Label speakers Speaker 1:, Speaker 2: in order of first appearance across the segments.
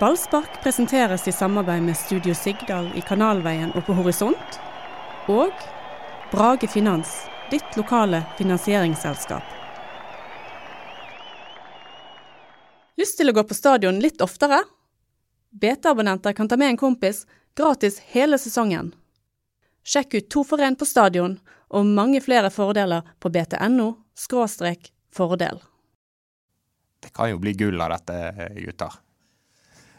Speaker 1: Ballspark presenteres i samarbeid med Studio Sigdal i Kanalveien og på Horisont. Og Brage Finans, ditt lokale finansieringsselskap. Lyst til å gå på stadion litt oftere? BT-abonnenter kan ta med en kompis gratis hele sesongen. Sjekk ut To for én på stadion og mange flere fordeler på btno fordel.
Speaker 2: Det kan jo bli gull av dette, gutter.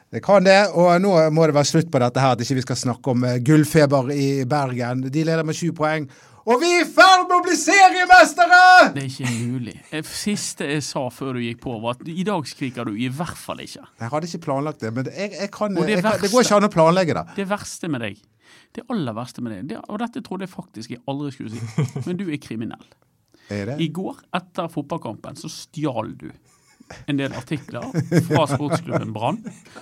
Speaker 3: Det kan det, og nå må det være slutt på dette her, at ikke vi skal snakke om eh, gullfeber i Bergen. De leder med 20 poeng. Og vi er i ferd med å bli seriemestere!
Speaker 4: Det er ikke mulig. Det siste jeg sa før du gikk på, var at i dag skriker du i hvert fall ikke.
Speaker 3: Jeg hadde ikke planlagt det, men det- jeg, jeg kan,
Speaker 4: Og det
Speaker 3: jeg kan Det
Speaker 4: verste-
Speaker 3: går ikke an å planlegge det.
Speaker 4: Det verste med deg, det aller verste med deg, det, og dette trodde jeg faktisk jeg aldri skulle si, men du er kriminell.
Speaker 3: Er det?
Speaker 4: I går, etter fotballkampen, så stjal du en del artikler fra sportsklubben Brann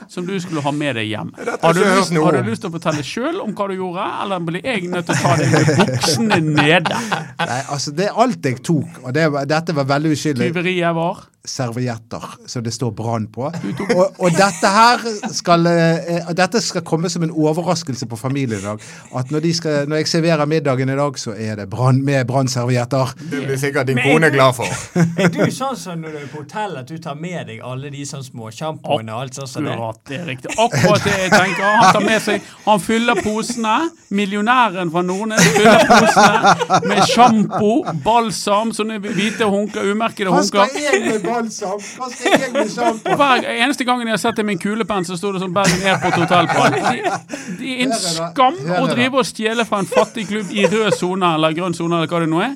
Speaker 4: som du skulle ha med deg hjem. Har
Speaker 2: har
Speaker 4: du,
Speaker 2: jeg
Speaker 4: lyst,
Speaker 2: hørt noe
Speaker 4: har
Speaker 2: om.
Speaker 4: du lyst til å fortelle sjøl om hva du gjorde, eller blir jeg nødt til å ta deg med buksene nede?
Speaker 3: Nei, altså, det er alt jeg tok, og det, var- dette var veldig uskyldig.
Speaker 4: Tyveriet var
Speaker 3: servietter som det står brann på. Og, og dette her skal, eh, og dette skal komme som en overraskelse på familien i dag. At når, de skal, når jeg serverer middagen i dag, så er det brann med brannservietter.
Speaker 2: Det blir sikkert din kone glad for.
Speaker 5: Er du sånn som når du er på hotell, at du tar med deg alle de sånn småsjampoene og alt sånt? som det?
Speaker 4: Akkurat det er riktig. Akkurat det jeg tenker. Han tar med seg Han fyller posene. Millionæren fra Nordnes fyller posene med sjampo, balsam, sånne hvite håndklær, umerkede
Speaker 3: Hva skal
Speaker 4: håndklær.
Speaker 3: jeg med balsam? Hva skal jeg med sjampo?
Speaker 4: Hver eneste gangen jeg har sett det med en kulepenn, så sto det sånn Bergen Airport Hotel på den. Det, det er en
Speaker 3: Hører da.
Speaker 4: skam
Speaker 3: Hører
Speaker 4: å
Speaker 3: da.
Speaker 4: drive og stjele fra en fattig klubb i rød sone eller grønn sone eller hva det nå er.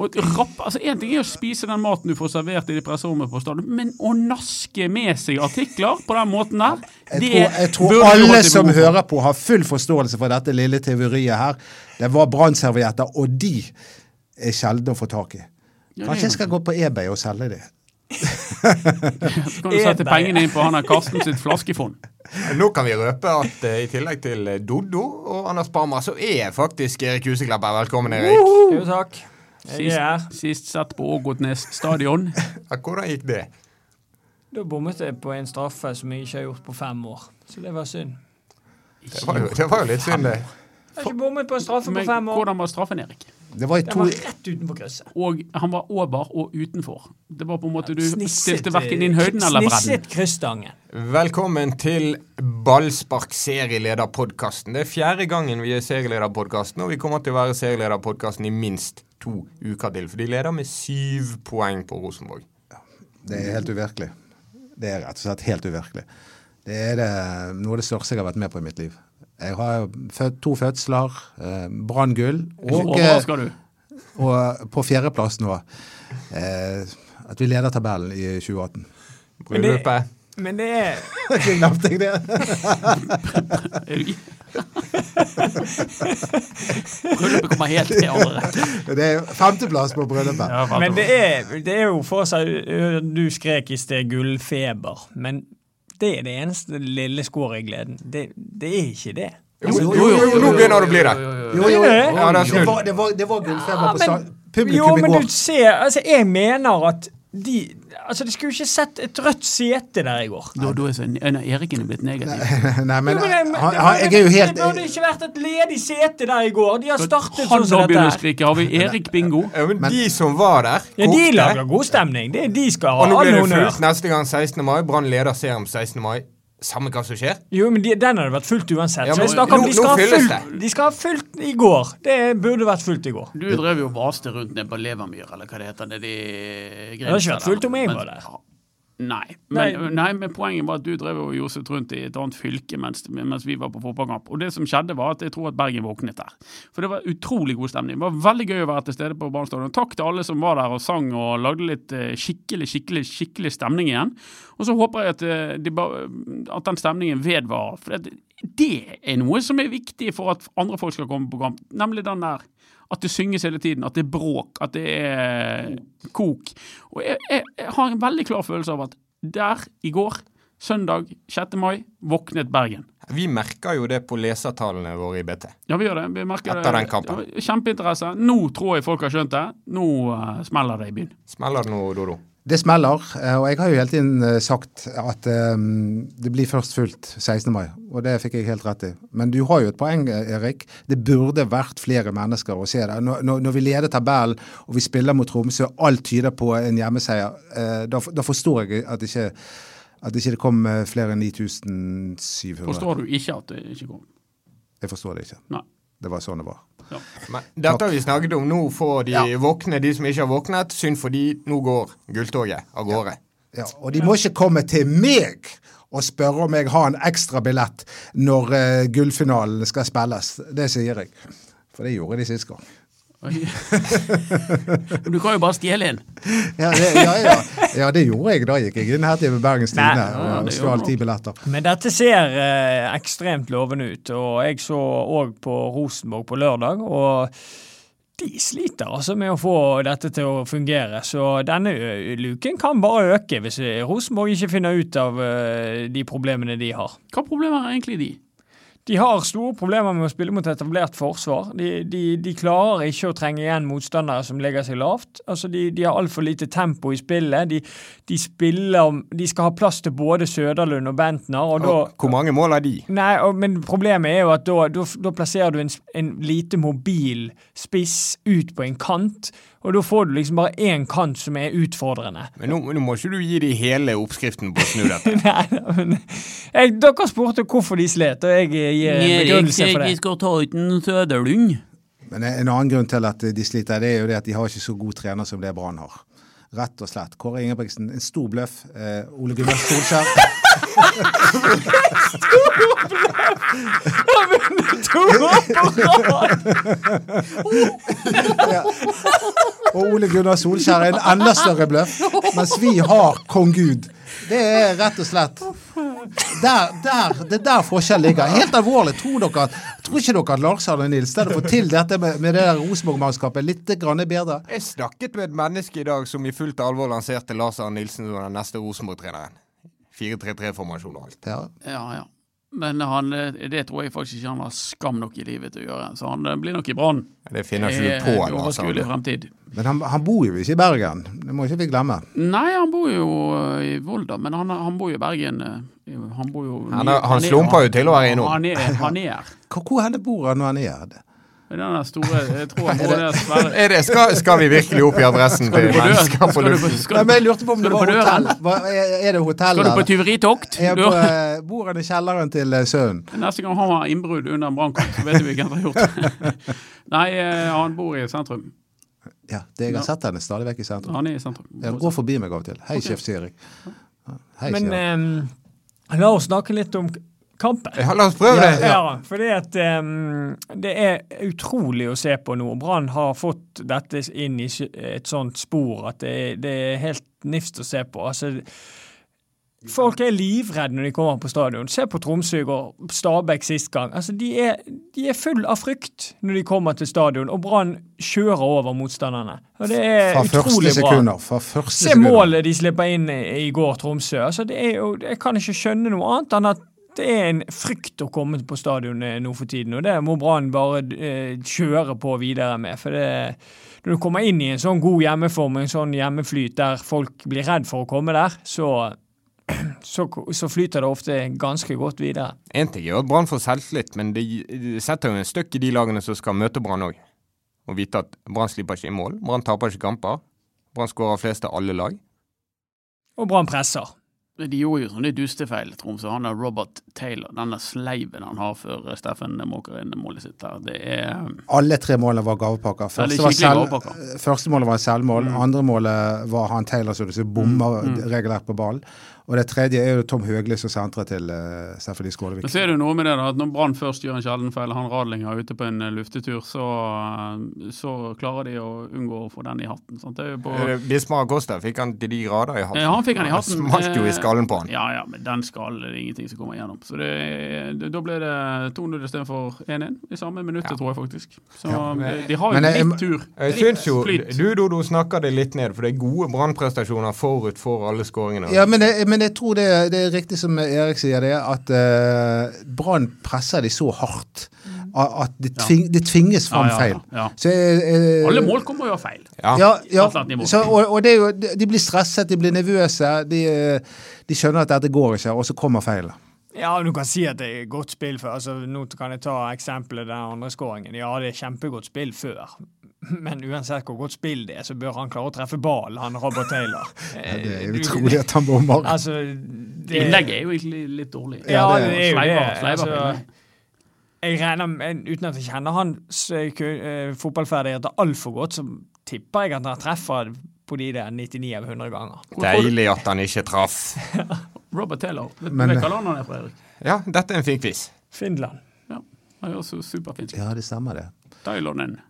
Speaker 4: Og rapp, altså En ting er å spise den maten du får servert i det presserommet på stadion, men å naske med seg artikler på den måten der,
Speaker 3: Jeg
Speaker 4: det
Speaker 3: tror, jeg tror
Speaker 4: burde gå
Speaker 3: alle
Speaker 4: til
Speaker 3: som
Speaker 4: mor.
Speaker 3: hører på, har full forståelse for dette lille tyveriet her. Det var brannservietter, og de er sjeldne å få tak i.
Speaker 4: Ja, det er
Speaker 3: Kanskje jeg skal gå på eBay og selge de.
Speaker 4: Så kan du sette pengene inn på han her Karsten sitt flaskefond.
Speaker 2: Nå kan vi røpe at eh, i tillegg til eh, Doddo og Anders Barmer, så er faktisk Erik Huseklepp her. Velkommen, Erik.
Speaker 5: Jo, takk. Jeg er her.
Speaker 4: Sist, sist sett på Ågotnes stadion.
Speaker 2: Ja, Hvordan gikk det?
Speaker 5: Da bommet jeg på en straffe som jeg ikke har gjort på fem år. Så det var synd.
Speaker 2: Det var jo, det var jo litt synd, det.
Speaker 5: Jeg har ikke bommet på en straffe på
Speaker 4: Men
Speaker 5: fem år.
Speaker 4: hvordan var straffen, Erik?
Speaker 3: Det var i
Speaker 5: Den
Speaker 3: to
Speaker 5: var rett utenfor krysset.
Speaker 4: Og han var over og utenfor. Det var på en måte Du
Speaker 5: Snisset,
Speaker 4: stilte verken inn høyden eller bredden.
Speaker 5: Snisset krysstangen.
Speaker 2: Velkommen til Ballspark serielederpodkasten. Det er fjerde gangen vi er serielederpodkasten, og vi kommer til å være serielederpodkasten i minst to uker til. For de leder med syv poeng på Rosenborg.
Speaker 3: Det er helt uvirkelig. Det er rett og slett helt uvirkelig. Det er det, noe av det største jeg har vært med på i mitt liv. Jeg har født, to fødsler, eh, branngull,
Speaker 4: Så
Speaker 3: og, eh,
Speaker 4: overrasker du.
Speaker 3: og på fjerdeplass nå eh, at vi leder tabellen i 2018.
Speaker 5: Men det-
Speaker 2: Bryllupet.
Speaker 5: Men det er
Speaker 3: Glemte jeg det?
Speaker 4: Er du i? Bryllupet kommer helt til andre.
Speaker 3: Det er femteplass på bryllupet.
Speaker 4: Ja,
Speaker 5: Men det er, det er jo fortsatt ø, øh, Du skrek i sted 'gullfeber', men det er det eneste lille skåret i gleden. Det, det er ikke det.
Speaker 2: Jo, jo, jo, jo, nå begynner det å bli det.
Speaker 3: Jo, jo,
Speaker 5: det?
Speaker 2: Ja, det er
Speaker 3: det
Speaker 2: snudd.
Speaker 3: var, det var, det var gullfeber på
Speaker 5: Ja, men-
Speaker 3: stand. Publikum
Speaker 5: Jo,
Speaker 3: i
Speaker 5: men
Speaker 3: går.
Speaker 5: du ser Altså, jeg mener at de Altså, de skulle jo ikke sett et rødt sete der i går.
Speaker 4: Da, da er så, nei, Eriken er blitt negativ.
Speaker 3: Nei, men
Speaker 5: Jo, men jeg-
Speaker 3: han, han, jeg er jo helt
Speaker 5: Det burde ikke vært et ledig sete der i går. De har startet
Speaker 4: Han
Speaker 5: sånn
Speaker 4: da
Speaker 5: som dette
Speaker 4: begynner å
Speaker 5: her.
Speaker 4: skrike. Har vi Erik Bingo?
Speaker 2: Ja, men de som var der
Speaker 5: Ja, de
Speaker 2: kokte.
Speaker 5: lager god stemning. Det, de skal ha
Speaker 2: Og nå
Speaker 5: all
Speaker 2: blir det
Speaker 5: honnør.
Speaker 2: fullt neste gang 16. mai. Brann leder serien på 16. mai. Samme hva som skjer.
Speaker 5: Jo, men de, den hadde vært fullt uansett.
Speaker 2: Ja,
Speaker 5: Så
Speaker 2: men
Speaker 5: jeg snakker om
Speaker 2: nå-
Speaker 5: de skal,
Speaker 2: nå
Speaker 5: ha
Speaker 2: fylles
Speaker 5: fullt, de skal ha fullt i går. Det burde vært fullt i går.
Speaker 4: Du drev jo og vaste rundt nede på Levermyr, eller hva det heter. Det, det,
Speaker 5: hadde ikke vært fullt om jeg var der.
Speaker 4: Nei. Men, nei. men poenget var at du drev og joset rundt i et annet fylke mens, mens vi var på fotballkamp. Og det som skjedde, var at jeg tror at Bergen våknet der. For det var utrolig god stemning. Det var veldig gøy å være til stede på Brann stadion. Takk til alle som var der og sang og lagde litt eh, skikkelig, skikkelig, skikkelig stemning igjen. Og så håper jeg at, eh, de, ba- at den stemningen vedvarer. For det, det er noe som er viktig for at andre folk skal komme på kamp, nemlig den der at det synges hele tiden, at det er bråk, at det er kok. Og jeg, jeg, jeg har en veldig klar følelse av at der i går, søndag 6. mai, våknet Bergen.
Speaker 2: Vi merker jo det på lesertallene våre i BT.
Speaker 4: Ja, vi gjør det. Vi merker
Speaker 2: Etter den
Speaker 4: det.
Speaker 2: kampen.
Speaker 4: Ja, Kjempeinteresse. Nå tror jeg folk har skjønt det. Nå eh, smeller det i byen.
Speaker 2: Smeller det nå, Dodo?
Speaker 3: Det smeller, eh, og jeg har jo hele tiden eh, sagt at eh, det blir først fullt 16. mai, og det fikk jeg helt rett i. Men du har jo et poeng, eh, Erik. Det burde vært flere mennesker å se det. Når, når, når vi leder tabellen og vi spiller mot Tromsø, og alt tyder på en hjemmeseier, eh, da, da forstår jeg at ikke, at ikke det kom eh, flere enn 9700.
Speaker 4: Forstår du ikke at det ikke kom?
Speaker 3: Jeg forstår det ikke.
Speaker 4: Nei.
Speaker 3: Det var sånn det var.
Speaker 4: Ja.
Speaker 2: Men dette har vi snakket om. Nå får de
Speaker 3: Ja.
Speaker 2: våkne, de som ikke har våknet. Synd for de, nå går gulltoget av gårde.
Speaker 3: Ja, og de må ikke komme til meg og spørre om jeg har en ekstra billett når eh, gullfinalen skal spilles. Det sier jeg. For det gjorde de sist gang.
Speaker 4: Oi. Men du kan jo bare stjele en.
Speaker 3: Ja, det, ja, ja. ja, det gjorde jeg. Da gikk jeg inn her til Bergens
Speaker 5: Nei,
Speaker 3: Tidende
Speaker 4: ja,
Speaker 3: og
Speaker 4: det
Speaker 3: stjal
Speaker 4: gjorde
Speaker 3: ti
Speaker 4: du.
Speaker 3: billetter.
Speaker 5: Men dette ser eh, ekstremt lovende ut, og jeg så òg på Rosenborg på lørdag. og de sliter altså med å få dette til å fungere, så denne ø- luken kan bare øke hvis eh, Rosenborg ikke finner ut av eh, de problemene de har.
Speaker 4: Hva problemer er egentlig de?
Speaker 5: De har store problemer med å spille mot etablert forsvar. De, de, de klarer ikke å trenge igjen motstandere som legger seg lavt. Altså, de, de har altfor lite tempo i spillet. De, de, spiller, de skal ha plass til både Søderlund og Bentner, og da
Speaker 2: Og Hvor mange mål har de?
Speaker 5: Nei, og, men problemet er jo at da, da, da plasserer du en, s- en lite mobil spiss ut på en kant, og da får du liksom bare én kant som er utfordrende.
Speaker 2: Men nå, nå må ikke du gi de hele oppskriften på å snu dette.
Speaker 5: Nei, nei, men jeg, Dere spurte hvorfor de slet, og jeg eh, gir en begrunnelse for det.
Speaker 4: skal ta uten Søderlund.
Speaker 3: Men en annen grunn til at de sliter, det er jo det at de har ikke så god trener som det Brann har. Rett og slett. Kåre Ingebrigtsen, en stor bløff. Eh, Ole Gunnar Solskjær.
Speaker 5: To år på rad!
Speaker 3: Og Ole Gunnar Solskjær er en enda større bløff, mens vi har kong Gud. Det er rett og slett der, der, Det er der forskjellen ligger. Helt alvorlig. Tror, dere at, tror ikke dere at Lars Arne Nilsen hadde fått til dette med, med det der Rosenborg-mannskapet litt grann bedre?
Speaker 2: Jeg snakket med et menneske i dag som i fullt alvor lanserte Lars Arne Nilsen som den neste Rosenborg-treneren. 4-3-3-formasjon og alt.
Speaker 3: Per?
Speaker 4: Ja, ja. Men han, eh, det tror jeg faktisk ikke han har skam nok i livet til å gjøre, så han eh, blir nok i Brann.
Speaker 2: Det finner ikke du på. altså,
Speaker 4: I
Speaker 2: Lars
Speaker 4: overskuelig
Speaker 2: Arne.
Speaker 4: fremtid.
Speaker 3: Men han, han bor jo ikke i Bergen. Det må ikke vi glemme.
Speaker 4: Nei, han bor jo eh, i Volda, men han, han bor jo i Bergen. eh, Han bor jo
Speaker 2: Han er- han slumper jo til å være innom.
Speaker 4: Han er, han er her.
Speaker 3: Hvor, hvor henne bor han når han er her?
Speaker 4: Den der store Jeg tror han bor der svære
Speaker 2: Er det, skal, skal vi virkelig opp i adressen til
Speaker 4: Skal du på døra?
Speaker 2: mennesker på
Speaker 4: Skal du på-
Speaker 2: luften?
Speaker 4: skal
Speaker 3: Nei,
Speaker 4: du-
Speaker 3: men jeg lurte på om
Speaker 4: skal
Speaker 3: det
Speaker 4: du
Speaker 3: var
Speaker 4: på
Speaker 3: hotell.
Speaker 4: døren?
Speaker 3: Hva- Er er det hotell,
Speaker 4: Skal du på
Speaker 3: eller?
Speaker 4: tyveritokt?
Speaker 3: Er
Speaker 4: Du-
Speaker 3: på, eh, Bor han i kjelleren til eh, sønnen?
Speaker 4: Neste gang han har innbrudd under en brannkamp, så vet vi hvem som har gjort det. Nei, eh, han bor i sentrum.
Speaker 3: Ja, det jeg har sett henne stadig vekk i sentrum.
Speaker 4: Han er i sentrum.
Speaker 3: Ja, Gå forbi meg av og til. Hei, sjef Sirik. Hei,
Speaker 5: Men
Speaker 3: sier han.
Speaker 5: eh, la oss snakke litt om k- kampen.
Speaker 2: Ja, la oss prøve det.
Speaker 5: Ja, ja, fordi at ehm, det er utrolig å se på nå. Brann har fått dette inn i s- et sånt spor at det, er- det er helt nifst å se på. Altså, folk er livredde når de kommer på stadion. Se på Tromsø i går, Stabæk sist gang. Altså, de er, de er full av frykt når de kommer til stadion, og Brann kjører over motstanderne. Og det er
Speaker 3: Fra første
Speaker 5: eh, utrolig bra.
Speaker 3: sekunder. Fra første
Speaker 5: Se
Speaker 3: sekunder.
Speaker 5: målet de slipper inn i i går, Tromsø. Altså, det er jo, jeg kan ikke skjønne noe annet enn at det er en frykt å komme på stadionet nå for tiden, og det må Brann bare eh, kjøre på videre med. For det, når du kommer inn i en sånn god hjemmeform, en sånn hjemmeflyt der folk blir redd for å komme der, så, så, så flyter det ofte ganske godt videre.
Speaker 2: En ting gjør at Brann får selvtillit, men det det setter jo en støkk i de lagene som skal møte Brann òg. Å vite at Brann slipper ikke inn mål, Brann taper ikke kamper. Brann skårer flest av alle lag.
Speaker 5: Og Brann presser.
Speaker 4: Men De gjorde jo sånne dustefeil, Tromsø. Han er Robert Taylor, denne sleiven han har før Steffen måker inn målet sitt der. Det er
Speaker 3: Alle tre målene var gavepakker.
Speaker 4: Eller
Speaker 3: Første, var
Speaker 4: skikkelig
Speaker 3: selv, eh,
Speaker 4: gavepakker. Mm.
Speaker 3: første målet var selvmål. Andre målet var han Taylor som du ser bommer regulært på ballen. Og det tredje er jo Tom Høgli som sentrer til uh, Stephanie Skålevik.
Speaker 4: Men så er det jo noe med det, da, at når Brann først gjør en sjelden feil, han Radlinger er ute på en eh, luftetur, så, eh, så klarer de å unngå å få den i hatten. Sant? Det er jo på
Speaker 2: Eh, Bismar Acosta fikk han til de grader i hatten.
Speaker 4: Eh, han fikk han i hatten. eh,
Speaker 2: smalt jo i skallen på han.
Speaker 4: Ja, ja, men den skallen er det ingenting som kommer igjennom. Så det, det, da ble det 2-0 istedenfor 1-1 i samme minuttet, tror jeg faktisk. Så eh, de har jo
Speaker 3: Men jeg-
Speaker 4: litt tur.
Speaker 2: Jeg
Speaker 4: Litt
Speaker 2: syns jo
Speaker 4: flyt.
Speaker 2: du, Dodo, snakker det litt ned, for det er gode Brann-prestasjoner forut for alle skåringene.
Speaker 3: Ja, men jeg, men jeg tror det, det er riktig som Erik sier det, at eh, Brann presser de så hardt
Speaker 5: Mm.
Speaker 3: a- at det, tving, det tvinges fram
Speaker 4: Ja, ja,
Speaker 3: feil.
Speaker 4: ja.
Speaker 3: Så jeg, jeg,
Speaker 4: Alle mål kommer jo av feil.
Speaker 2: Ja.
Speaker 3: ja, ja.
Speaker 4: et eller annet nivå.
Speaker 3: Så, og, og det er jo, de- de blir stresset, de blir nervøse, de, eh, de skjønner at dette går ikke, og så kommer feilen.
Speaker 5: Ja, du kan si at det er godt spill før. Altså, nå kan jeg ta eksempelet den andre skåringen. Ja, det er kjempegodt spill før. Men uansett hvor godt spill det er, så bør han klare å treffe ball, han Robert Taylor. Eh,
Speaker 3: Det er utrolig at han bommer.
Speaker 5: Altså, det
Speaker 4: Innlegget er jo egentlig litt dårlig.
Speaker 3: Ja,
Speaker 5: Ja,
Speaker 3: det er-
Speaker 5: det er jo det.
Speaker 4: Sleiver- sleiver på
Speaker 5: Altså,
Speaker 4: innlegg.
Speaker 5: jeg regner med, uten at jeg kjenner hans eh, ku- eh, fotballferdigheter altfor godt, så tipper jeg at han treffer på de der 99 av 100 ganger.
Speaker 2: Deilig at han ikke traff.
Speaker 4: Robert Taylor. Vet du
Speaker 3: Men-
Speaker 4: hvilket land han er fra, Erik?
Speaker 2: Ja, dette er en fin quiz.
Speaker 5: Finland.
Speaker 4: Ja, han er også superfin.
Speaker 3: Ja, det stemmer det.
Speaker 4: Thailand.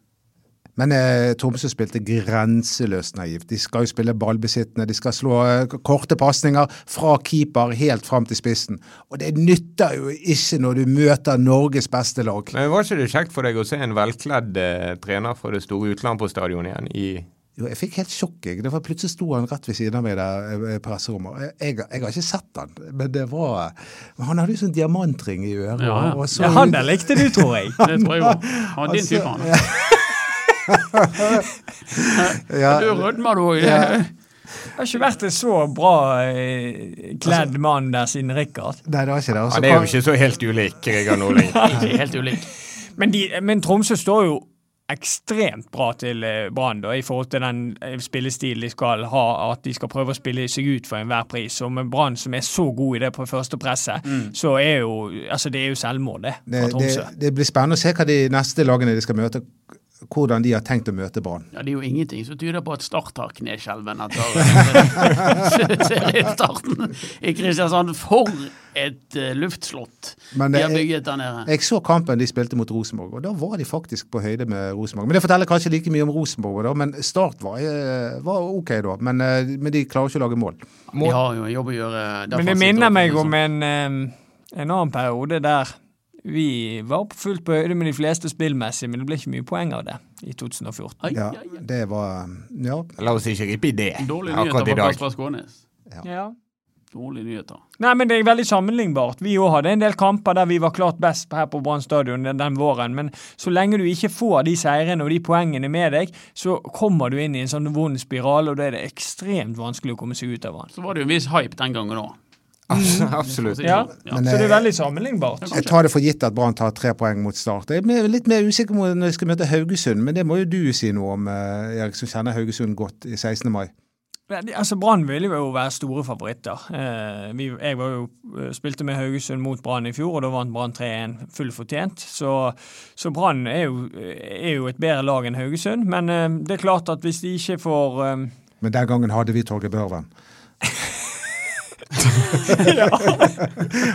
Speaker 3: Men eh, Tromsø spilte grenseløst naivt. De skal jo spille ballbesittende, de skal slå eh, k- korte pasninger fra keeper helt fram til spissen. Og det nytter jo ikke når du møter Norges beste lag.
Speaker 2: Men var ikke det kjekt for deg å se en velkledd eh, trener fra det store utlandet på stadion igjen? I
Speaker 3: Jo, jeg fikk helt sjokk. jeg. Det var Plutselig sto han rett ved siden av meg der eh, i presserommet. Og Jeg, jeg, jeg har ikke sett han, men det var men Han hadde jo sånn diamantring i øret.
Speaker 4: Ja, ja.
Speaker 3: og så-
Speaker 5: Ja, han der likte du, tror jeg.
Speaker 4: Det tror jeg òg. Han er din
Speaker 3: Altså,
Speaker 4: type, han.
Speaker 3: Ja,
Speaker 4: Du rødmer, du òg.
Speaker 5: Det har ikke vært en så bra eh, kledd mann der siden Rikard.
Speaker 3: Nei, det var ikke det. Og så
Speaker 2: Han er jo
Speaker 3: kom-
Speaker 2: ikke så helt ulik Regar Norling.
Speaker 4: Ikke helt ulik.
Speaker 5: Men, de, men Tromsø står jo ekstremt bra til eh, Brann da, i forhold til den eh, spillestilen de skal ha, at de skal prøve å spille seg ut for enhver pris. Og med Brann som er så god i det på første presset, så er jo altså det er jo selvmord, det,
Speaker 3: det,
Speaker 5: fra Tromsø.
Speaker 3: det, det blir spennende å se hva de neste lagene de skal møte, hvordan de har tenkt å møte Brann.
Speaker 4: Ja, Det er jo ingenting som tyder på at Start har kneskjelven etter seriestarten i Kristiansand. For et eh, luftslott
Speaker 3: Men
Speaker 4: de har
Speaker 3: det er-
Speaker 4: bygget der nede.
Speaker 3: Jeg så kampen de spilte mot Rosenborg, og da var de faktisk på høyde med Rosenborg. Men Det forteller kanskje like mye om Rosenborg, da, men Start var, eh, var ok da. Men, eh, men de klarer ikke å lage mål.
Speaker 4: De har jo en jobb å gjøre.
Speaker 5: Men det
Speaker 4: defensivt
Speaker 5: minner
Speaker 4: også,
Speaker 5: meg
Speaker 4: liksom.
Speaker 5: om en, eh, en annen periode der vi var på fullt på høyde med de fleste spillmessig, men det ble ikke mye poeng av det i 2014.
Speaker 4: Ai,
Speaker 3: Ja,
Speaker 4: ai, ai.
Speaker 3: det var Ja.
Speaker 2: La oss ikke rippe i det
Speaker 4: Dårlige
Speaker 2: akkurat i
Speaker 4: nyheter fra
Speaker 2: dag.
Speaker 4: Kasper Skånes.
Speaker 5: Ja.
Speaker 4: Dårlige nyheter.
Speaker 5: Nei, men det er veldig sammenlignbart. Vi òg hadde en del kamper der vi var klart best her på Brann stadion den, den våren, men så lenge du ikke får de seirene og de poengene med deg, så kommer du inn i en sånn vond spiral, og da er det ekstremt vanskelig å komme seg ut av den.
Speaker 4: Så var det jo en viss hype den gangen Altså, òg.
Speaker 2: Abs- Absolutt.
Speaker 5: Ja,
Speaker 4: Ja.
Speaker 5: Så det er veldig sammenlignbart.
Speaker 3: Jeg tar det for gitt at Brann tar tre poeng mot Start. Jeg blir litt mer usikker på når de skal møte Haugesund, men det må jo du si noe om, eh, Erik, som kjenner Haugesund godt i 16. mai.
Speaker 5: Men, Altså, Brann ville jo være store favoritter. Eh, vi, jeg var jo, eh, spilte med Haugesund mot Brann i fjor, og da vant Brann 3-1 fullt fortjent. Så, så Brann er, jo- eh, er jo et bedre lag enn Haugesund, men eh, det er klart at hvis de ikke får eh,
Speaker 3: Men den gangen hadde vi Torgeir Børven.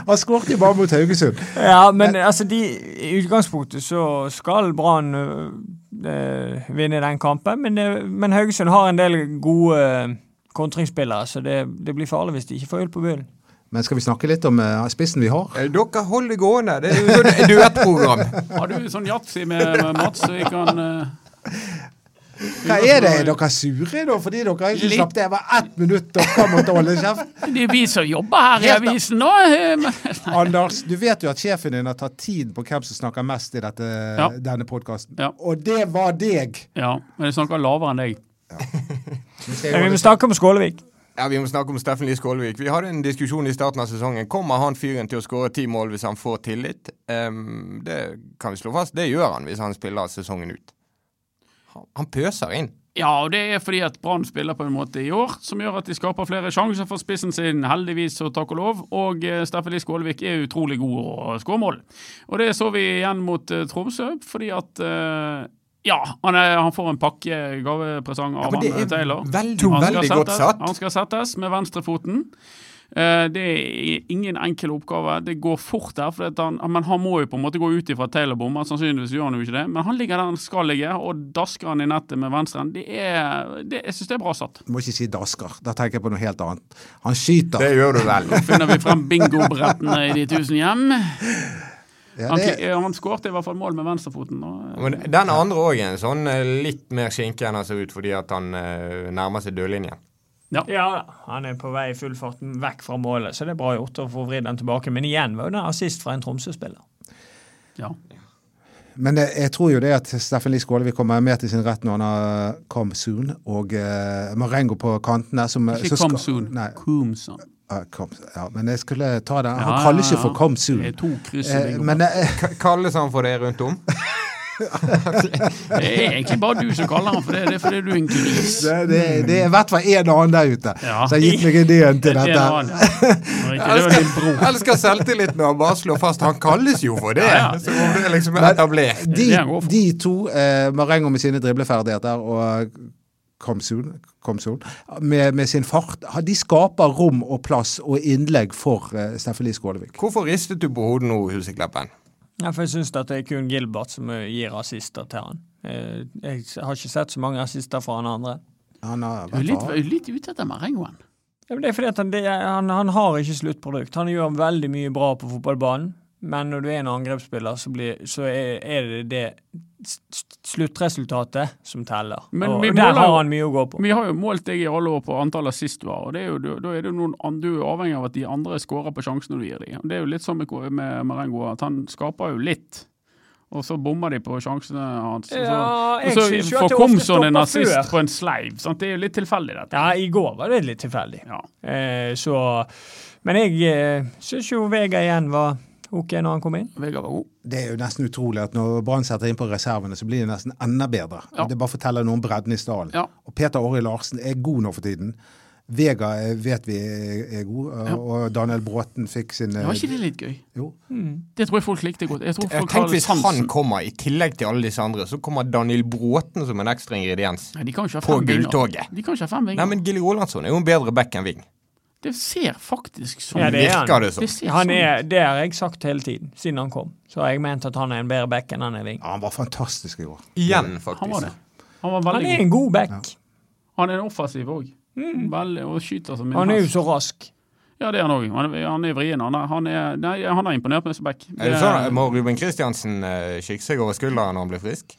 Speaker 3: Han skåret jo bare mot Haugesund.
Speaker 5: Ja, men altså, de, i utgangspunktet så skal Brann øh, øh, vinne den kampen, men, øh, men Haugesund har en del gode øh, kontringsspillere, så det, det blir farlig hvis de ikke får hjul på bunnen.
Speaker 3: Men skal vi snakke litt om eh, spissen vi har?
Speaker 2: Eh, Dere holder det gående. Det er jo sånn et duettprogram.
Speaker 4: Har du sånn yatzy med med Mats, så vi kan eh,
Speaker 3: Hva er det? Er dere sure da, fordi dere ikke
Speaker 4: Litt.
Speaker 3: slapp det? Det var ett minutt dere måtte holde kjeft.
Speaker 4: Det er vi som jobber her i
Speaker 3: Helt-
Speaker 4: avisen nå! eh, men-
Speaker 3: Anders, du vet jo at sjefen din har tatt tid på hvem som snakker mest i dette, denne podkasten.
Speaker 4: Ja.
Speaker 3: Og det var deg!
Speaker 4: Ja, men jeg snakker lavere enn deg.
Speaker 5: Men vi må snakke om Skålevik.
Speaker 2: Ja, Vi må snakke om Steffen Lie Skålevik. Vi hadde en diskusjon i starten av sesongen. Kommer han fyren til å skåre ti mål hvis han får tillit? Ehm, det kan vi slå fast. Det gjør han hvis han spiller sesongen ut. Han- Han pøser inn.
Speaker 4: Ja, og det er fordi at Brann spiller på en måte i år som gjør at de skaper flere sjanser for spissen sin, heldigvis og takk og lov. Og eh, Steffen Lie Skålevik er utrolig god å skåre mål. Og det så vi igjen mot eh, Tromsø, fordi at eh, ja, han, er, han får en pakke gavepresang av
Speaker 2: men det
Speaker 4: han,
Speaker 2: er
Speaker 4: eh, Taylor.
Speaker 2: veldig,
Speaker 4: Han skal
Speaker 2: veldig godt
Speaker 4: settes-
Speaker 2: satt.
Speaker 4: Han skal settes med venstrefoten. Eh, Det er ingen enkel oppgave. Det går fort der, for at han, men han må jo på en måte gå ut ifra Taylor bommer. Sannsynligvis gjør han jo ikke det, men han ligger der han skal ligge, og dasker han i nettet med venstren. Det er, det, jeg syns det er bra satt.
Speaker 3: Du må ikke si dasker. Da tenker jeg på noe helt annet. Han skyter.
Speaker 2: Det gjør du vel.
Speaker 4: Finner vi frem bingobrettene i de tusen hjem.
Speaker 3: Ja,
Speaker 4: Han,
Speaker 3: det,
Speaker 4: kli- eh, han skårte i hvert fall mål med venstrefoten. og-
Speaker 2: Men den andre òg er en sånn eh, litt mer skinke enn han ser ut fordi at han eh, nærmer seg dødlinjen.
Speaker 5: Ja, han er på vei i full fart vekk fra målet, så det er bra gjort å få vridd den tilbake. Men igjen var jo den assist fra en Tromsø-spiller.
Speaker 4: Ja.
Speaker 3: Men jeg, jeg tror jo det at Steffen Lie Skålevik kommer mer til sin rett når han har Come Soon og eh, Marengo på kantene. Som,
Speaker 4: Ikke
Speaker 3: som
Speaker 4: Come
Speaker 3: skal-
Speaker 4: Soon.
Speaker 3: Nei,
Speaker 4: Come Soon.
Speaker 3: ja, Come Soon, ja, men jeg skulle ta den.
Speaker 4: Ja,
Speaker 3: Han kalles jo
Speaker 4: ja,
Speaker 3: for
Speaker 4: ja.
Speaker 3: Come
Speaker 4: Det
Speaker 3: Soon.
Speaker 4: er to kryss i
Speaker 3: Eh,
Speaker 4: bingo.
Speaker 3: men eh,
Speaker 2: K kalles han for det rundt om?
Speaker 4: Det er egentlig bare du som kaller han for det. Det er fordi du er en gris.
Speaker 3: det, det, det er i hvert fall en annen der ute
Speaker 4: Ja.
Speaker 3: som har gitt meg ideen til
Speaker 4: Det er en
Speaker 3: dette.
Speaker 4: annen, ja. Det var ikke- det var din bror.
Speaker 2: Elsker selvtilliten og bare slår fast han kalles jo for det!
Speaker 4: Ja, ja.
Speaker 2: Så om det liksom er etablert.
Speaker 4: Det er det han
Speaker 3: De,
Speaker 4: går for.
Speaker 3: de to, eh, Marengo med sine dribleferdigheter og Come Soon, Come Soon med, med sin fart, ha- de skaper rom og plass og innlegg for eh, Steffen Lie Skålevik.
Speaker 2: Hvorfor ristet du på hodet nå, Husekleppen?
Speaker 5: Ja, for jeg syns at det er kun Gilbert som eh, gir assister til han. Eh, Jeg har ikke sett så mange assister fra han andre.
Speaker 3: Han har,
Speaker 4: Du er litt, litt ute etter marengoen.
Speaker 5: Ja, men Det er fordi at han, det, er- han, han har ikke sluttprodukt. Han gjør veldig mye bra på fotballbanen, men når du er en angrepsspiller, så, blir, så er, er det det s- s- sluttresultatet som teller.
Speaker 4: Men
Speaker 5: og
Speaker 4: vi
Speaker 5: og
Speaker 4: måler
Speaker 5: der har
Speaker 4: jo-
Speaker 5: han mye å gå på.
Speaker 4: Vi har jo målt deg i alle år på antall assist du har, og det er jo, du- da er det jo noen, an- du er jo avhengig av at de andre skårer på sjansene du gir dem. Det er jo litt sånn med, Ko- med Marengo, at han skaper jo litt, og så bommer de på sjansene hans. og så-
Speaker 5: Ja, jeg
Speaker 4: og så
Speaker 5: synes jo
Speaker 4: får
Speaker 5: at det ofte
Speaker 4: Komson en
Speaker 5: stopper
Speaker 4: assist
Speaker 5: før.
Speaker 4: på en sleiv. Sant? Det er jo litt tilfeldig, dette.
Speaker 5: Ja, i går var det litt tilfeldig.
Speaker 4: Ja.
Speaker 5: Eh, så Men jeg eh, syns jo Vega igjen var OK når han kom inn.
Speaker 4: Vegard var god.
Speaker 3: Det er jo nesten utrolig at når Brann setter inn på reservene, så blir det nesten enda bedre.
Speaker 4: Ja.
Speaker 3: Det bare forteller noe om bredden i stallen.
Speaker 4: Ja.
Speaker 3: Og Peter Åri Larsen er god nå for tiden. Vega eh, vet vi er er god, og- og Daniel Bråten fikk sin eh,
Speaker 4: Det var ikke det litt gøy?
Speaker 3: Jo.
Speaker 4: Det tror jeg folk likte godt. Jeg tror folk
Speaker 2: Tenk
Speaker 4: har
Speaker 2: hvis han
Speaker 4: sansen.
Speaker 2: kommer, i tillegg til alle disse andre, så kommer Daniel Bråten som en ekstra ingrediens.
Speaker 4: Nei, de kan jo ikke ha
Speaker 2: På
Speaker 4: fem vinger.
Speaker 2: gulltoget.
Speaker 4: De kan ikke ha fem vinger.
Speaker 2: Nei, men Gilly Rolandsson er jo en bedre back enn wing.
Speaker 4: Det ser faktisk sånn
Speaker 5: Ja,
Speaker 4: ut.
Speaker 5: det er han.
Speaker 2: Virker det som.
Speaker 4: Det ser
Speaker 5: Han
Speaker 4: sånn
Speaker 5: er,
Speaker 4: ut.
Speaker 5: det har jeg sagt hele tiden, siden han kom. Så har jeg ment at han er en bedre back enn han er wing.
Speaker 3: Ja, han var fantastisk i går.
Speaker 2: Igjen,
Speaker 4: Han var det.
Speaker 2: faktisk.
Speaker 4: Han var
Speaker 5: Han
Speaker 4: veldig
Speaker 5: er
Speaker 4: god.
Speaker 5: en god back.
Speaker 4: Han er offensiv òg. Veldig, og skyter som en
Speaker 5: Han er jo
Speaker 4: hest.
Speaker 5: så rask.
Speaker 4: Ja, det er han òg. Han, er- han er vrien. Han er, han er, nei, han er imponert meg som back.
Speaker 2: Er det sånn, Må Ruben Kristiansen eh, kikke seg over skulderen når han blir frisk?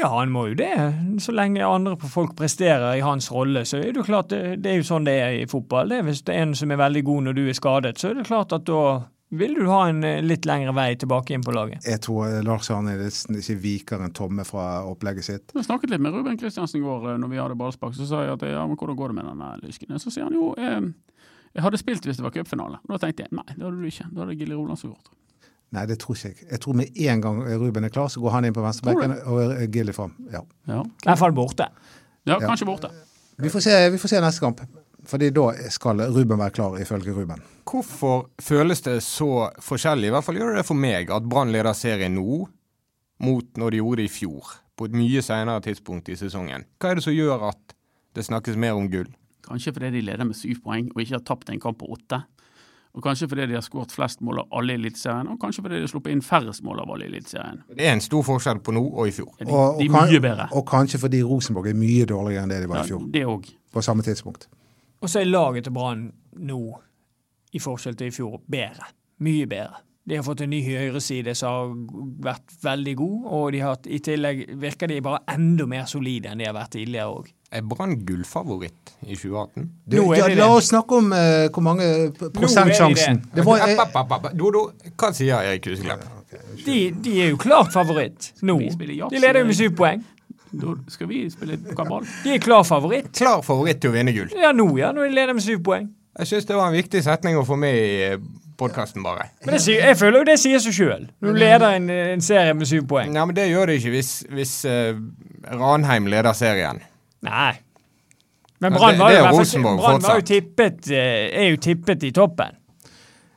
Speaker 5: Ja, han må jo det. Så lenge andre på folk presterer i hans rolle, så er det jo klart det, det er jo sånn det er i fotball. Det er Hvis det er en som er veldig god når du er skadet, så er det klart at da vil du ha en eh, litt lengre vei tilbake inn på laget.
Speaker 3: Jeg tror eh, Lars Arne Nilsen ikke viker en tomme fra opplegget sitt.
Speaker 4: Jeg snakket litt med Ruben Kristiansen i går eh, når vi hadde ballspark. Så sa jeg at ja, men hvordan går det med denne lysken? Så sier han jo eh, jeg hadde spilt hvis det var cupfinale. Og da tenkte jeg nei, det hadde du ikke. Da hadde Gilly Rolandsson gjort.
Speaker 3: Nei, det tror ikke jeg. Jeg tror med en gang Ruben er klar, så går han inn på venstrebekken og eh, Gilly fram. Ja.
Speaker 4: Ja,
Speaker 5: I hvert fall borte.
Speaker 4: ja kanskje borte.
Speaker 3: Vi, får se, vi får se neste kamp. Fordi da skal Ruben være klar, ifølge Ruben.
Speaker 2: Hvorfor føles det så forskjellig, i hvert fall gjør det det for meg, at Brann leder serien nå mot når de gjorde det i fjor, på et mye senere tidspunkt i sesongen? Hva er det som gjør at det snakkes mer om gull?
Speaker 4: Kanskje fordi de leder med syv poeng og ikke har tapt en kamp på åtte. Og kanskje fordi de har skåret flest mål av alle i Eliteserien, og kanskje fordi de har sluppet inn færrest mål av alle i Eliteserien.
Speaker 2: Det er en stor forskjell på nå og i fjor.
Speaker 4: De, de er
Speaker 3: kan-
Speaker 4: mye bedre.
Speaker 3: og kanskje fordi Rosenborg er mye dårligere enn det de var
Speaker 4: Ja,
Speaker 3: i fjor.
Speaker 4: det òg.
Speaker 3: På samme tidspunkt.
Speaker 5: Og så er laget til Brann nå, i forskjell til i fjor, bedre. Mye bedre. De har fått en ny høyreside som har vært veldig god, og de har, hatt- i tillegg virker de bare enda mer solide enn de har vært tidligere òg.
Speaker 2: Er Brann gullfavoritt i 2018?
Speaker 3: Du,
Speaker 5: Nå er
Speaker 3: ja,
Speaker 5: de
Speaker 3: la
Speaker 5: det.
Speaker 3: oss snakke om eh, hvor mange p- prosent
Speaker 5: er de
Speaker 3: sjansen.
Speaker 5: det.
Speaker 3: Det var, eh,
Speaker 2: App, app, app, app. Dodo, hva sier Erik Huseklepp?
Speaker 5: De, de er jo klart favoritt nå.
Speaker 4: Vi spiller jazz.
Speaker 5: De leder jo med syv poeng.
Speaker 4: Da skal vi spille kabal.
Speaker 5: De er klar favoritt.
Speaker 2: Klar favoritt til å vinne gull.
Speaker 5: Ja, nå, ja. Nå er de leder med syv poeng.
Speaker 2: Jeg syns det var en viktig setning å få med i podkasten, bare.
Speaker 5: Men det sier, jeg føler jo det sier seg sjøl. Når du leder en, en serie med syv poeng.
Speaker 2: Nei, men det gjør det ikke hvis, hvis eh, Ranheim leder serien.
Speaker 5: Nei. Men
Speaker 2: Men
Speaker 5: Brann
Speaker 2: det-
Speaker 5: var,
Speaker 2: det
Speaker 5: jo
Speaker 2: er
Speaker 5: i hvert fall-
Speaker 2: Rosenborg
Speaker 5: Brann var jo
Speaker 2: fortsatt.
Speaker 5: tippet, eh, er jo tippet i toppen.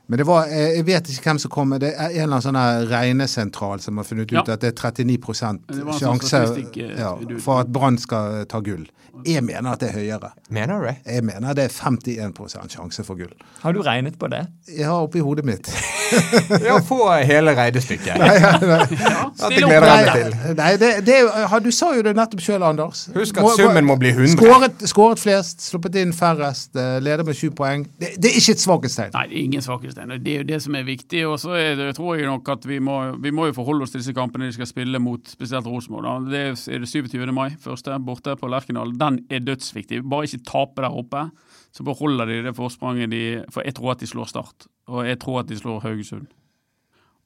Speaker 3: men det var, eh, jeg vet ikke hvem som kom. Det er en eller annen sånn her regnesentral som har funnet ut
Speaker 4: Ja.
Speaker 3: at det er 39
Speaker 4: Det var en sånn
Speaker 3: sjanse
Speaker 4: statistikk, eh,
Speaker 3: ja,
Speaker 4: du-
Speaker 3: for at Brann skal eh, ta gull. Jeg mener at det er høyere.
Speaker 2: Mener du det?
Speaker 3: Jeg mener det er 51 sjanse for gull.
Speaker 5: Har du regnet på det?
Speaker 2: Mm.
Speaker 3: Jeg har oppi hodet mitt.
Speaker 2: Ja, få hele reidestykket. Dette gleder
Speaker 4: Stille opp.
Speaker 2: jeg meg til.
Speaker 3: Nei, det, det, er jo- ha, du sa jo det nettopp sjøl, Anders.
Speaker 2: Husk at summen må bli 100.
Speaker 3: Skåret, skåret flest, sluppet inn færrest, eh, leder med sju poeng. Det, det er ikke et svakhetstegn.
Speaker 4: Nei, det er ingen svakhetstegn. Det er jo det som er viktig. Og så er det- tror jeg nok at vi må, vi må jo forholde oss til disse kampene de skal spille mot spesielt Rosenborg. da. Det er det 27. mai, første borte på Lerkendal. Den er dødsviktig. Bare ikke tape der oppe, så beholder de det forspranget de For jeg tror at de slår Start, og jeg tror at de slår Haugesund.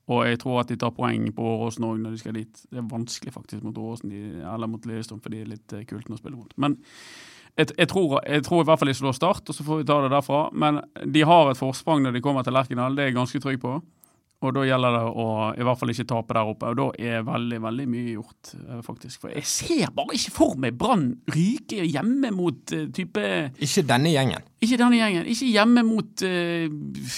Speaker 4: Og jeg tror at de tar poeng på Åråsen òg når de skal dit. Det er vanskelig faktisk mot Åråsen de- eller mot Lillestrøm, for de er litt eh, kulten å spille mot. Men jeg, jeg, tror, jeg tror i hvert fall de slår Start, og så får vi ta det derfra. Men de har et forsprang når de kommer til Lerkendal, det er jeg ganske trygg på. Og da gjelder det å i hvert fall ikke tape der oppe. Og da er veldig, veldig mye gjort, eh, faktisk. For jeg ser bare ikke for meg Brann ryke hjemme mot eh, type
Speaker 2: Ikke denne gjengen.
Speaker 4: ikke denne gjengen. Ikke hjemme mot eh,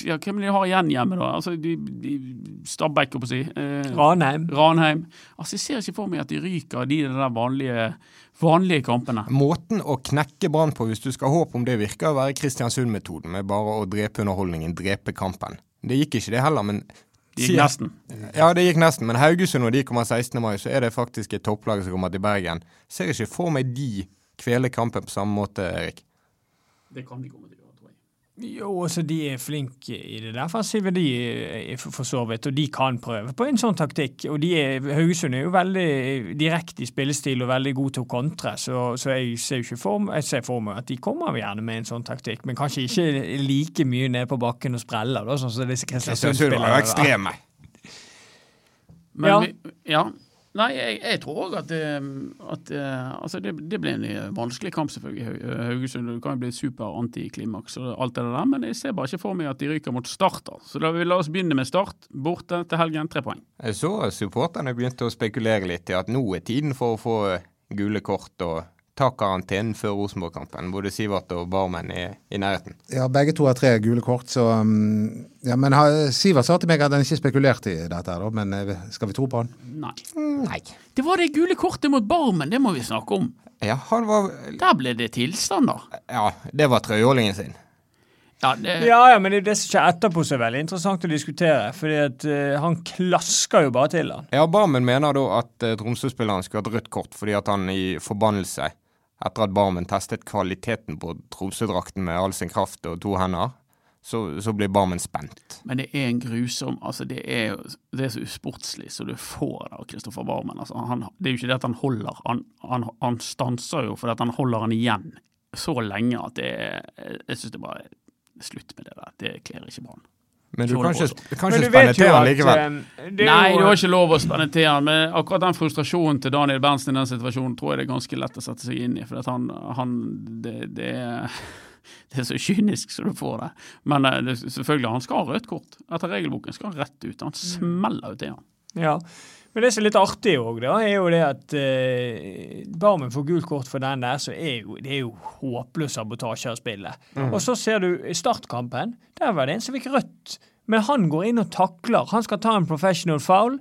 Speaker 4: ja, Hvem de har igjen hjemme, da? Altså, de, de, Stabæk, holdt jeg på å si. Eh,
Speaker 5: Ranheim.
Speaker 4: Ranheim. Altså, Jeg ser ikke for meg at de ryker de der vanlige, vanlige kampene.
Speaker 2: Måten å knekke Brann på, hvis du skal håpe om det virker, å være Kristiansund-metoden med bare å drepe underholdningen, drepe kampen. Det gikk ikke det heller, men
Speaker 4: De gikk nesten.
Speaker 2: Ja, det gikk nesten, men Haugesund når de kommer 16. mai, så er det faktisk et topplag som kommer til Bergen. Ser ikke for meg de kveler kampen på samme måte, Erik.
Speaker 4: Det kan de komme til å gjøre, tror jeg.
Speaker 5: Jo, altså de er flinke i det defensive, de er for for så vidt, og de kan prøve på en sånn taktikk. Og de er, Haugesund er jo veldig eh, direkte i spillestil og veldig god til å kontre, så, så jeg ser jo ikke for, meg- jeg ser for meg at de kommer gjerne med en sånn taktikk, men kanskje ikke like mye ned på bakken og spreller, da, sånn som disse
Speaker 2: Kristiansund var jo
Speaker 5: Kristiansund-spillerne. da.
Speaker 2: ekstreme.
Speaker 4: Men
Speaker 5: Ja.
Speaker 4: vi, ja. Nei, jeg, jeg tror òg at, eh, at eh, Altså, det, det blir en eh, vanskelig kamp, selvfølgelig. Hau- eh, Haugesund det kan jo bli et super antiklimaks og alt det der, men jeg ser bare ikke for meg at de ryker mot Start. da. Så da vil vi la oss begynne med Start, borte til helgen, tre poeng.
Speaker 2: Jeg så supporterne begynte å spekulere litt i at nå er tiden for å få gule kort og ta karantenen før Rosenborg-kampen. Både Sivert og Barmen er i nærheten.
Speaker 3: Ja, begge to har tre gule kort, så um, ja, Men har- Sivert sa til meg at han ikke spekulerte i dette, her, da, men eh, skal vi tro på han?
Speaker 4: Nei.
Speaker 2: Nei.
Speaker 4: Det var det gule kortet mot Barmen, det må vi snakke om.
Speaker 2: Ja, han var
Speaker 4: Der ble det tilstander.
Speaker 2: Ja, det var trøyeålingen sin.
Speaker 4: Ja, det,
Speaker 5: Ja, ja, men det er jo det som skjer etterpå som er veldig interessant å diskutere, fordi at eh, han klasker jo bare til han.
Speaker 2: Ja, Barmen mener da at eh, Tromsø-spilleren skulle hatt rødt kort fordi at han i forbannelse etter at Barmen testet kvaliteten på Tromsø-drakten med all sin kraft og to hender, så, så ble Barmen spent.
Speaker 4: Men det er en grusom altså Det er, jo- det er så usportslig så du får det av Kristoffer Barmen. Altså, han, det er jo ikke det at han holder, han, han, han stanser jo fordi at han holder han igjen så lenge at det er Jeg syns det bare er slutt med det der. Det kler ikke Brann.
Speaker 2: Men du
Speaker 4: Kjole
Speaker 2: kan
Speaker 4: på
Speaker 2: ikke,
Speaker 4: også.
Speaker 2: du kan ikke spenne til han likevel.
Speaker 5: eh, det er
Speaker 4: Nei,
Speaker 5: jo-
Speaker 4: det var ikke lov å spenne til han, men akkurat den frustrasjonen til Daniel Berntsen i den situasjonen tror jeg det er ganske lett å sette seg inn i, for at han, han det, det, er- det er så kynisk som du får det. Men eh, det, selvfølgelig, han skal ha rødt kort. Etter regelboken skal han rett ut. Han
Speaker 5: Mm.
Speaker 4: smeller jo til han.
Speaker 5: Ja, men det som er litt artig òg, da, er jo det at eh, Barmen får gult kort for den der, så er jo, det er jo håpløs sabotasje av spillet.
Speaker 2: Mm.
Speaker 5: Og så ser du i startkampen, der var det en som fikk rødt. Men han går inn og takler. Han skal ta en professional foul,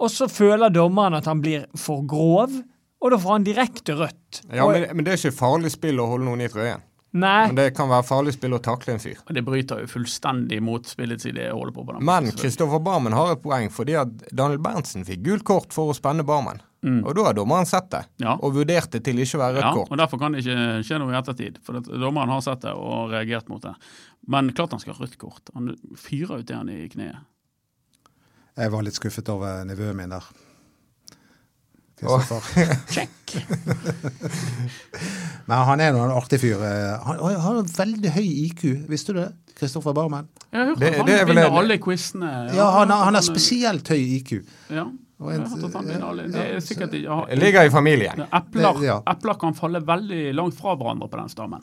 Speaker 5: og så føler dommeren at han blir for grov, og da får han direkte rødt.
Speaker 2: Ja,
Speaker 5: Og-
Speaker 2: men, men det er ikke farlig spill å holde noen i trøyen.
Speaker 5: Nei,
Speaker 2: Men det kan være farlig spill å takle en fyr.
Speaker 4: Og det bryter jo fullstendig mot spillets idé å holde på på den
Speaker 2: Men
Speaker 4: måten, selvfølgelig.
Speaker 2: Kristoffer Barmen har et poeng fordi at Daniel Berntsen fikk gult kort for å spenne Barmen.
Speaker 3: Mm.
Speaker 2: Og da har dommeren sett det,
Speaker 4: Ja.
Speaker 2: og vurdert det til ikke å være rødt
Speaker 4: Ja,
Speaker 2: kort.
Speaker 4: og Derfor kan det ikke skje noe i ettertid, for at dommeren har sett det og reagert mot det. Men klart han skal ha rødt kort. Han fyrer ut det han i kneet.
Speaker 3: Jeg var litt skuffet over nivået min der. Kristoffer.
Speaker 4: Sjekk!
Speaker 3: Men han er nå en artig fyr. eh, Han han har en veldig høy IQ, visste du det? Kristoffer Barmen.
Speaker 4: Jeg har hørt
Speaker 2: Det-
Speaker 4: at han
Speaker 2: det er vel
Speaker 4: vinner
Speaker 2: en-
Speaker 4: alle quizene.
Speaker 3: Ja, han har, han har spesielt høy IQ.
Speaker 4: Ja,
Speaker 3: Og
Speaker 4: jeg
Speaker 3: en-
Speaker 4: har hørt at han vinner alle. Det
Speaker 3: ja,
Speaker 4: er sikkert ikke ja,
Speaker 2: Ligger i familien.
Speaker 4: Epler,
Speaker 3: Det- ja.
Speaker 4: epler kan falle veldig langt fra hverandre på den stammen.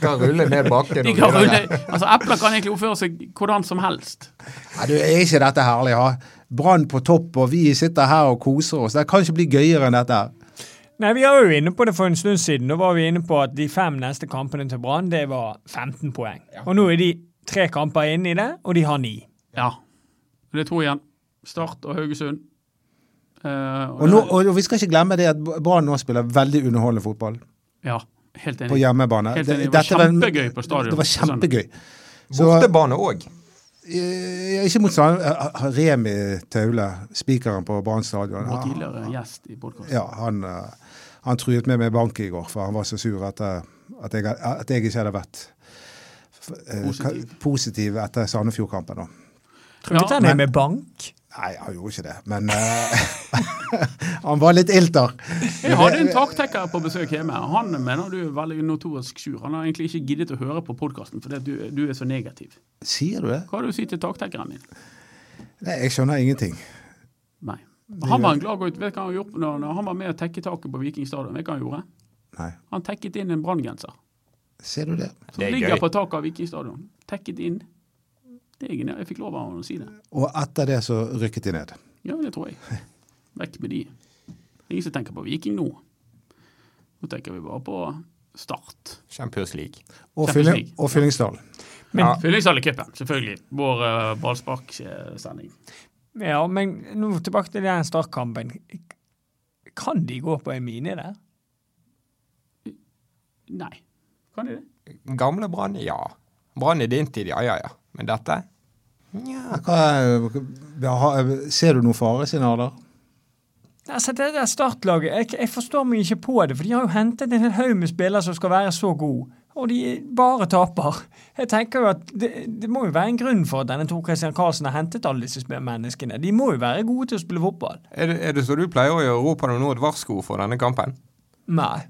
Speaker 2: Kan rulle ned bakken.
Speaker 4: De
Speaker 2: og
Speaker 4: kan,
Speaker 2: videre.
Speaker 4: altså, epler kan egentlig oppføre seg hvordan som helst.
Speaker 3: Nei, du, er ikke dette herlig, ha? Brann på topp, og vi sitter her og koser oss. Det kan ikke bli gøyere enn dette. her.
Speaker 5: Nei, vi var jo inne på det for en stund siden. Da var vi inne på at de fem neste kampene til Brann, det var 15 poeng. Og nå er de tre kamper inne i det, og de har ni.
Speaker 4: Ja. Det er to igjen. Start og Haugesund. Eh,
Speaker 3: Og, nå, og, og vi skal ikke glemme det at Brann nå spiller veldig underholdende fotball
Speaker 4: Ja, helt
Speaker 3: på
Speaker 4: enig.
Speaker 3: hjemmebane.
Speaker 4: Helt enig. Det
Speaker 3: Dette
Speaker 4: var
Speaker 3: en-
Speaker 4: kjempegøy på stadion. Sånn.
Speaker 3: Det var kjempegøy. Så,
Speaker 2: Bortebane òg.
Speaker 3: eh, ikke mot sånn eh, Remi Taule, spikeren på Brann stadion.
Speaker 4: Vår
Speaker 3: han-
Speaker 4: tidligere gjest i podkasten.
Speaker 3: Ja, han, eh, han truet med meg bank i går, for han var så sur etter at jeg, at jeg ikke hadde vært eh,
Speaker 4: Positiv.
Speaker 3: ka- positiv etter Sandefjord-kampen. da.
Speaker 5: Trykket han
Speaker 3: men-
Speaker 5: er med bank?
Speaker 3: Nei, han gjorde ikke det, men eh, han var litt ilter.
Speaker 4: Jeg hadde en taktekker på besøk hjemme. Han mener du er veldig notorisk sur. Han har egentlig ikke giddet å høre på podkasten fordi at du, du er så negativ.
Speaker 3: Sier du det?
Speaker 4: Hva har du å si til taktekkeren min?
Speaker 3: Nei, jeg skjønner ingenting.
Speaker 4: Nei. Han var en glad gutt. Vet du hva han gjorde når, når han var med å tekke taket på Viking stadion? Vet du hva han gjorde?
Speaker 3: Nei.
Speaker 4: Han tekket inn en branngenser.
Speaker 3: Ser du det?
Speaker 4: Som
Speaker 2: Det er
Speaker 4: ligger
Speaker 2: gøy.
Speaker 4: på taket av Viking stadion. Tekket inn. Det er genialt. Jeg fikk lov av han å si det.
Speaker 3: Og etter det så rykket de ned.
Speaker 4: Ja, det tror jeg. Vekk med de. Det er ingen som tenker på Viking nå. Nå tenker vi bare på Start.
Speaker 2: Champions League.
Speaker 3: Og,
Speaker 4: Champions
Speaker 3: fylling,
Speaker 4: League.
Speaker 3: og Fyllingsdalen.
Speaker 2: Ja.
Speaker 4: Fyllingshallecupen, selvfølgelig. Vår uh, ballsparksending.
Speaker 5: Ja, men nå tilbake til den startkampen. Kan de gå på en mine der?
Speaker 4: Nei. Kan de det?
Speaker 2: Gamle Brann, ja. Brann i din tid, ja, ja, ja. Men dette? Nja.
Speaker 3: Hva, ja, ha- ser du noen faresignaler?
Speaker 5: Altså, det der startlaget, jeg, jeg forstår meg ikke på det, for de har jo hentet en hel haug med spillere som skal være så gode, og de bare taper. Jeg tenker jo at det, det må jo være en grunn for at denne Tor Christian Karlsen har hentet alle disse sp- menneskene. De må jo være gode til å spille fotball.
Speaker 2: Er det, er det så du pleier å gjøre? Roper du nå et varsko for denne kampen?
Speaker 5: Nei.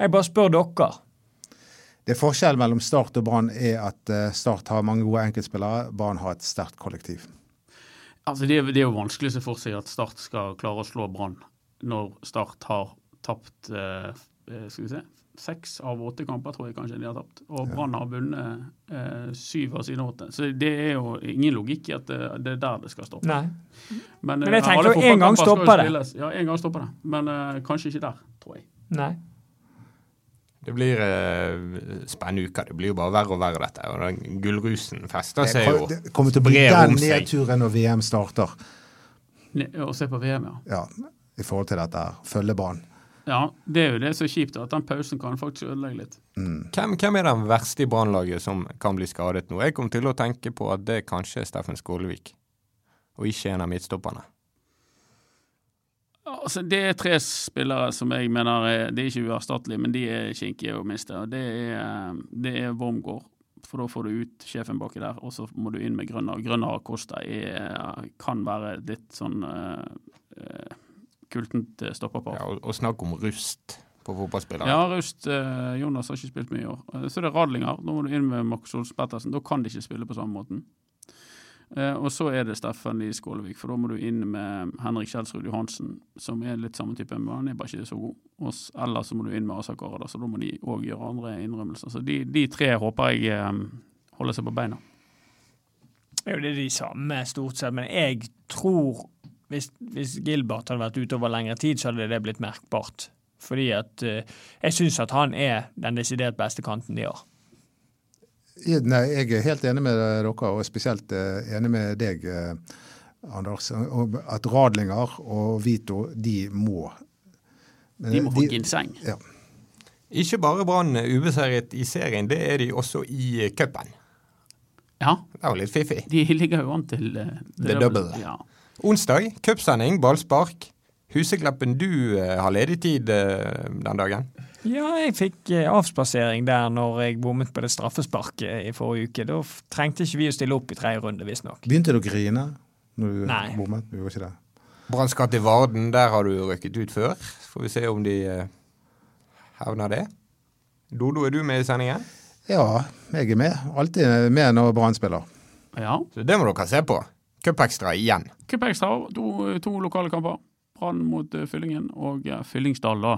Speaker 5: Jeg bare spør dere.
Speaker 3: Det Forskjellen mellom Start og Brann er at eh, Start har mange gode enkeltspillere, Brann har et sterkt kollektiv.
Speaker 4: Altså, det, er- det er jo vanskelig å se for seg at Start skal klare å slå Brann når Start har tapt eh, eh, skal vi se, seks av åtte kamper, tror jeg kanskje de har tapt. Og Brann har vunnet eh, syv av sine åtte. Så det er jo ingen logikk i at det, det er der det skal stoppe.
Speaker 5: Nei.
Speaker 4: Men,
Speaker 5: Men
Speaker 4: eh,
Speaker 5: jeg tenker
Speaker 4: alle
Speaker 5: jo en gang
Speaker 4: fotballkamper skal jo
Speaker 5: stopper det.
Speaker 4: spilles. Ja, en gang stopper det. Men eh, kanskje ikke der, tror jeg.
Speaker 5: Nei.
Speaker 2: Det blir eh, spennende uker. Det blir jo bare verre og verre, dette. Og den gullrusen fester
Speaker 3: Det
Speaker 2: seg jo.
Speaker 3: kom- det kommer til å bli
Speaker 2: Brer
Speaker 3: den
Speaker 2: om seg.
Speaker 3: nedturen når VM starter,
Speaker 4: Ne å se på VM, ja.
Speaker 3: ja, i forhold til dette her. Følge Brann.
Speaker 4: Ja, Det er jo det som er kjipt, at den pausen kan faktisk ødelegge litt.
Speaker 2: Hvem, hvem er den verste i Brannlaget som kan bli skadet nå? Jeg kom til å tenke på at det kanskje er Steffen Skålevik, og ikke en av midtstopperne.
Speaker 4: Altså, Det er tre spillere som jeg mener er, de er ikke uerstattelige, men de er kinkige å miste. og Det er, eh, det er Wormgård, for da får du ut sjefen baki der, og så må du inn med Grønner. Grønner og Costa er, kan være litt sånn eh, eh, kultent eh, stopperpar.
Speaker 2: Ja, og, og snakk om rust på fotballspillere.
Speaker 4: Ja, Rust eh, Jonas har ikke spilt mye i år. Eh, Så det er Radlinger. Nå må du inn med Markus Olsen Pettersen. Da kan de ikke spille på samme måten. Eh, og så er det Steffen Lie Skålevik, for da må du inn med Henrik Kjelsrud Johansen, som er litt samme type, men han er bare ikke så god. Og s- Eller så må du inn med Asak Arada, så da må de òg gjøre andre innrømmelser. Så de, de tre håper jeg eh, holder seg på beina.
Speaker 5: Det er jo det de samme, stort sett, men jeg tror hvis, hvis Gilbert hadde vært ute over lengre tid, så hadde det blitt merkbart. Fordi at eh, jeg syns at han er den desidert beste kanten de har.
Speaker 3: I- Nei, jeg er helt enig med dere, og spesielt eh, enig med deg, eh, Anders, om at Radlinger og Vito, de må Men
Speaker 4: De må få ginseng.
Speaker 3: ja.
Speaker 2: Ikke bare Brann er ubeseiret i serien, det er de også i eh, cupen.
Speaker 4: Ja,
Speaker 2: Det er jo litt fiffig.
Speaker 4: de ligger jo an til eh,
Speaker 2: Det dobbelte.
Speaker 4: Ja.
Speaker 2: Onsdag, cupsending, ballspark. Husekleppen, du eh, har ledig tid eh, den dagen.
Speaker 5: Ja, jeg fikk eh, avspasering der når jeg bommet på det straffesparket i forrige uke. Da f- trengte ikke vi å stille opp i tredje runde, visstnok.
Speaker 3: Begynte du å grine når du
Speaker 5: Nei.
Speaker 3: bommet? Du gjorde ikke det?
Speaker 2: Brann skal til Varden, der har du røkket ut før. Får vi se om de eh, hevner det. Dodo, er du med i sendingen?
Speaker 3: Ja, jeg er med. Alltid med når Brann spiller.
Speaker 4: ja.
Speaker 2: Så det må dere se på. Cupekstra igjen.
Speaker 4: Cup Extra, to, to lokale kamper. Brann mot eh, Fyllingen og uh, Fyllingsdal, da.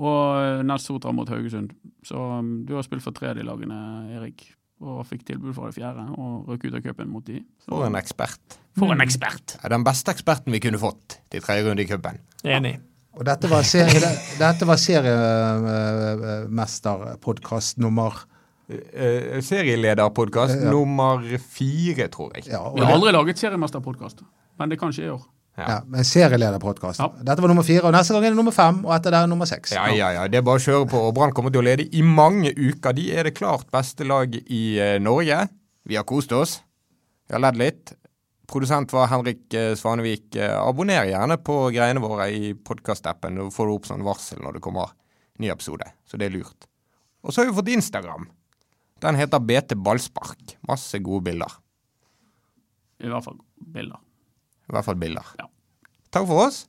Speaker 4: Og eh, Ness Sotra mot Haugesund. Så mm, du har spilt for tre av de lagene, Erik. Og fikk tilbud fra det fjerde, og røk ut av cupen mot de. Så,
Speaker 2: For en ekspert.
Speaker 4: for en ekspert!
Speaker 2: Ja, Den beste eksperten vi kunne fått til tredje runde i cupen.
Speaker 5: Enig.
Speaker 3: Og dette var, serie, det- dette var seriemesterpodkast nummer
Speaker 2: Uh, Serielederpodkast
Speaker 3: Eh, ja.
Speaker 2: nummer fire, tror jeg.
Speaker 3: Ja, og
Speaker 4: Vi har
Speaker 3: det,
Speaker 4: aldri laget seriemesterpodkast, men det kan skje i år.
Speaker 3: ja men serielederpodkast.
Speaker 4: Ja.
Speaker 3: Dette var nummer fire, og neste gang er det nummer fem, og etter det er det nummer seks.
Speaker 2: Ja, ja, ja. Det er bare å kjøre på. og Brann kommer til å lede i mange uker. De er det klart beste laget i eh, Norge. Vi har kost oss. Vi har ledd litt. Produsent var Henrik eh, Svanevik. Eh, Abonner gjerne på greiene våre i podkastappen. Da får du opp sånn varsel når det kommer ny episode. Så det er lurt. Og så har vi fått Instagram. Den heter BT Ballspark. Masse gode bilder.
Speaker 4: I hvert fall bilder.
Speaker 2: I hvert fall bilder.
Speaker 4: Ja.
Speaker 2: Takk for oss.